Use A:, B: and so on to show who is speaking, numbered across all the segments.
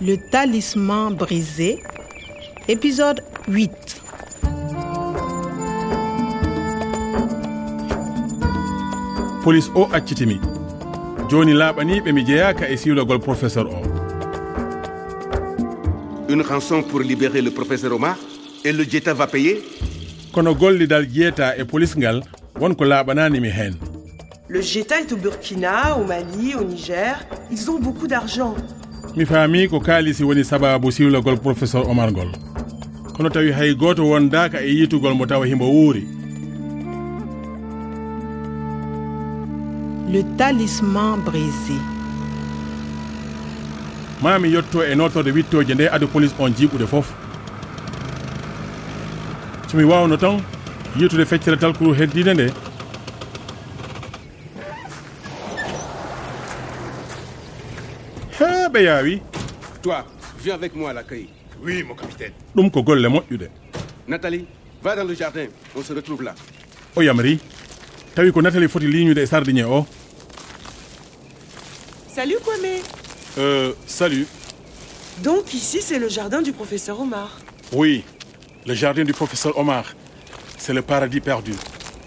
A: Le talisman brisé, épisode 8.
B: police o accitimi joni laaɓaniɓe mi jeeyaka e siwlogol professeur o
C: Une rançon pour libérer le professeur Omar Et le Jetta va payer
B: kono gollidal jeeta e police ngal wonko laaɓananimi hen
D: Le Jeta est au Burkina, au Mali, au Niger. Ils ont beaucoup d'argent.
B: mi faami ko kaalisi woni sababu siwlogol professeur omar ngol kono tawi hay goto wondaka e yitugol mo tawa himo wuuri
A: Le talisman brisé.
B: mami yetto e notorde wittoje nde adu police on jiiɓude foof somi wawno tan yittude feccere talkuru heddide nde heɓe yaawi
C: Toi, viens avec moi à l'accueil. Oui, mon capitaine.
B: ɗum ko golle moƴƴude
C: Nathalie, va dans le jardin. On se retrouve là.
B: o yamri tawi ko natali foti liñude e sardinier o
D: Salut Kwame
E: Euh, salut.
D: Donc ici c'est le jardin du professeur Omar.
E: Oui, le jardin du professeur Omar. C'est le paradis perdu.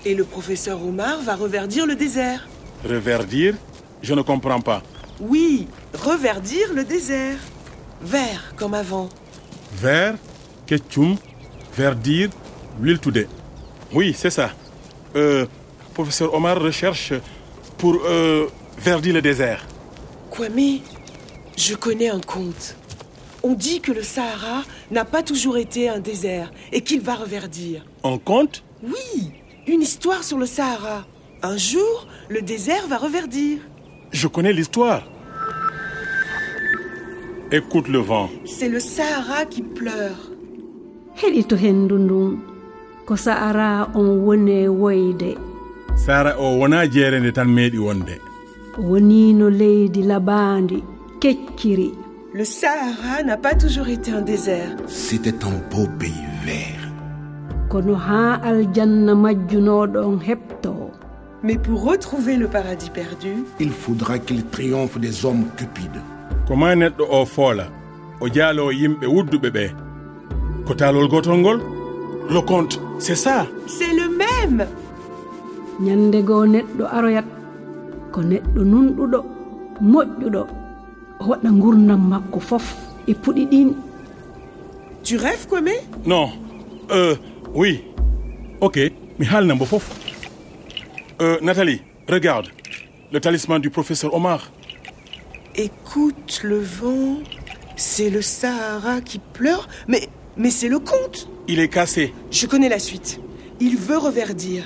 D: Et le professeur Omar va reverdir le désert.
E: Reverdir Je ne comprends pas.
D: Oui, reverdir le désert. Vert comme avant.
B: vert keccum verdir wiltude
E: Oui, c'est ça. Euh, professeur Omar recherche pour euh, verdir le désert.
D: Kwame, je connais un conte. On dit que le Sahara n'a pas toujours été un désert et qu'il va reverdir.
E: On compte
D: Oui, une histoire sur le Sahara. Un jour, le désert va reverdir.
E: Je connais l'histoire. Écoute le vent.
D: C'est le Sahara qui pleure.
F: heɗi to hendu ndun ko sa'ara on woni e woyde
B: sara o wona jeere nde tan meeɗi wonde
F: wonino leydi labandi kecciri
D: Le Sahara n'a pas toujours été un désert.
G: C'était un beau pays vert.
F: kono haa aljanna majjunoɗon heɓto
D: Mais pour retrouver le paradis perdu,
G: Il faudra qu'il triomphe des hommes cupides.
B: ko ma neɗɗo o foola o jaalo yimɓe wudduɓe ɓe ko taalol gotol ngol
E: Le conte, c'est ça
D: c'est le même.
F: nyandego neɗɗo aroyat ko neɗɗo nunɗuɗo moƴƴuɗo o waɗa gurdam makko fof e puɗi ɗin
D: Tu rêves, Kwame
E: Non. Euh, oui.
B: ok mi haalnambo fof
E: Euh, Nathalie, regarde. Le talisman du professeur Omar.
D: Écoute le vent. C'est le Sahara qui pleure. Mais, mais c'est le conte.
E: Il est cassé.
D: Je connais la suite. Il veut reverdir.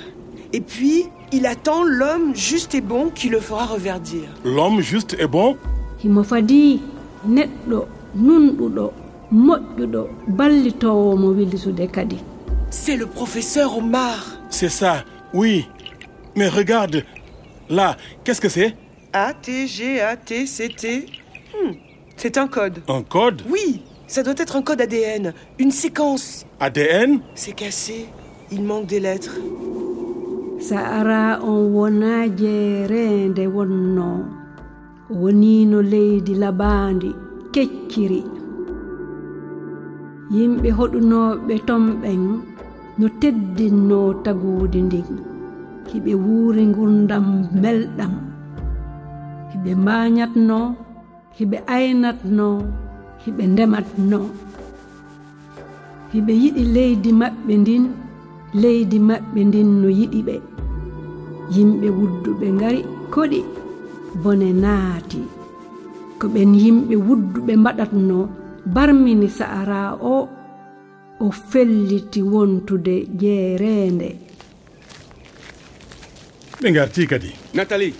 D: Et puis, il attend l'homme juste et bon qui le fera reverdir.
E: L'homme juste et bon
F: himo fadi neɗɗo nunɗuɗo moƴƴuɗo ballitowo mo wilsude kadi
D: C'est le professeur Omar.
E: C'est ça, oui. Mais regarde, là, qu'est-ce que c'est
D: A, T, G, A, T, C, T. Hmm, C'est un code.
E: Un code
D: Oui, ça doit être un code ADN, une séquence.
E: ADN
D: C'est cassé, il manque des lettres.
F: sa'ara on wona jeerende wonno o wonino leydi labandi kecciri yimɓe hoɗunoɓe tomɓen no teddinno tagudi ndin hiɓe wuuri gurdam belɗam hiɓe mbañatno hiɓe aynatno hiɓe ndematno hiɓe yiɗi leydi maɓɓe ndin leydi maɓɓe ndin no yiɗi ɓe yimɓe wudduɓe ngari koɗi bone naati ko ɓen yimɓe wudduɓe mbaɗatno barmini sa'ara o o felliti wontude jeereende
B: ɓe garti kadi
C: Nathalie,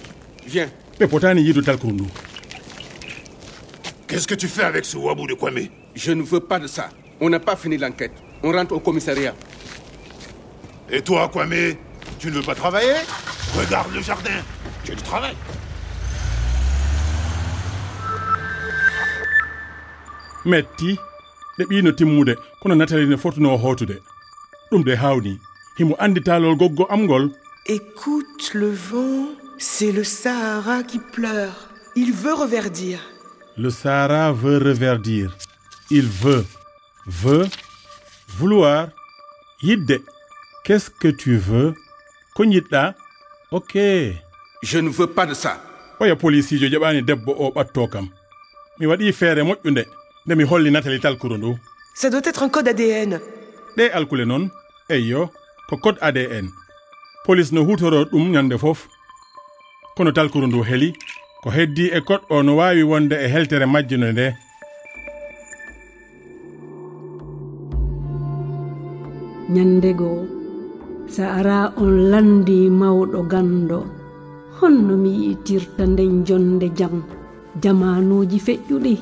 C: viens.
B: ɓe potani yiidu talkuru ndu
H: Qu'est-ce que tu fais avec ce wabou de Kwame
C: Je ne veux pas de ça. On n'a pas fini l'enquête. On rentre au commissariat.
H: Et toi, Kwame Tu ne veux pas travailler Regarde le jardin, tu du travail.
B: metti ɗe ɓino timmude kono natali ne fotuno hotude ɗum de hawni himo andi taalol goggo am ngol
D: Écoute le vent, c'est le Sahara qui pleure. Il veut reverdir.
B: Le Sahara veut reverdir. Il veut, veut, vouloir, yidde. Qu'est-ce que tu veux? Konyitla. Ok.
C: Je ne veux pas de ça.
B: oya policijo jaɓani debbo o ɓatto kam mi waɗi feere moƴƴunde nde mi holli natali talkuru ndu
D: Ça doit être un code ADN.
B: ɗe alkule noon eyyo ko code adn police no hutoro ɗum ñande fof kono talkuru ndu heli ko heddi e code o no wawi wonde e heltere majjuno nde
F: ñande goo sa ara on landi mawɗo gando honno mi yi'itirta nden jonde jam jamanuuji feƴƴuɗi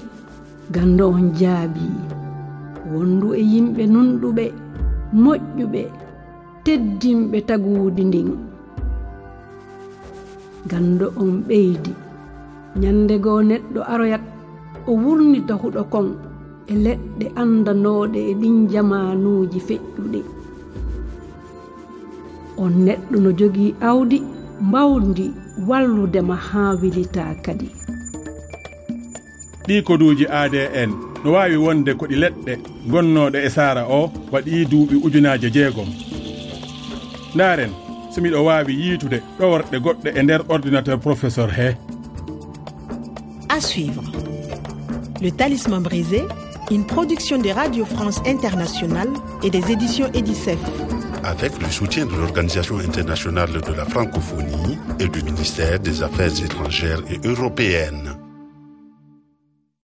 F: gando on jaabi wondu e yimɓe nunɗuɓe moƴƴuɓe teddinɓe taguudi ndin gando on ɓeydi ñande goo neɗɗo aroyat o wurnita huɗo kon e leɗɗe andanoɗe e ɗin jamanuuji feƴƴuɗi on neɗɗo no jogii awdi mbawdi walludema haa wilita kadi
B: ɗi koduji adn no wawi wonde koɗi leɗɗe gonnoɗe e sara o waɗi duuɓi ujunaje jeegom ndaren so miɗo wawi yiitude ɗoworɗe goɗɗe e nder ordinateur professeur he
A: À suivre. Le Talisman brisé, une production de Radio France Internationale et des éditions Edicef.
H: Avec le soutien de l'Organisation internationale de la francophonie et du ministère des Affaires étrangères et européennes.